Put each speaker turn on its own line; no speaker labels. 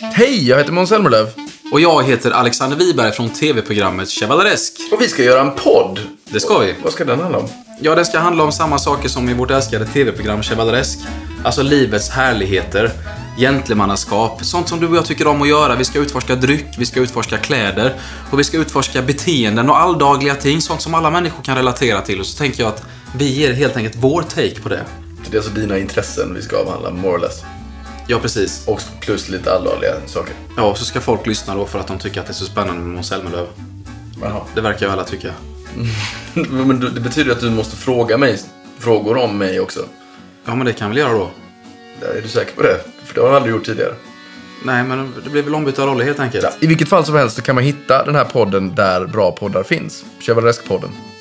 Hej, jag heter Måns Zelmerlöw.
Och jag heter Alexander Wiberg från tv-programmet Chevaleresk.
Och vi ska göra en podd.
Det ska vi.
Vad ska den handla om?
Ja, den ska handla om samma saker som i vårt älskade tv-program Chevaleresk. Alltså livets härligheter, gentlemannaskap, sånt som du och jag tycker om att göra. Vi ska utforska dryck, vi ska utforska kläder och vi ska utforska beteenden och alldagliga ting, sånt som alla människor kan relatera till. Och så tänker jag att vi ger helt enkelt vår take på det.
Det är alltså dina intressen vi ska avhandla, more or less.
Ja, precis.
Och plus lite allvarliga saker.
Ja, och så ska folk lyssna då för att de tycker att det är så spännande med Måns Zelmerlöw.
Jaha.
Det verkar ju alla tycka.
Men du- det betyder att du måste fråga mig frågor om mig också.
Ja, men det kan vi väl göra då.
Där är du säker på det? För det har du aldrig gjort tidigare.
Nej, men det blir väl ombytta roller helt enkelt.
I vilket fall som helst så kan man hitta den här podden där bra poddar finns. Chevaleresk-podden.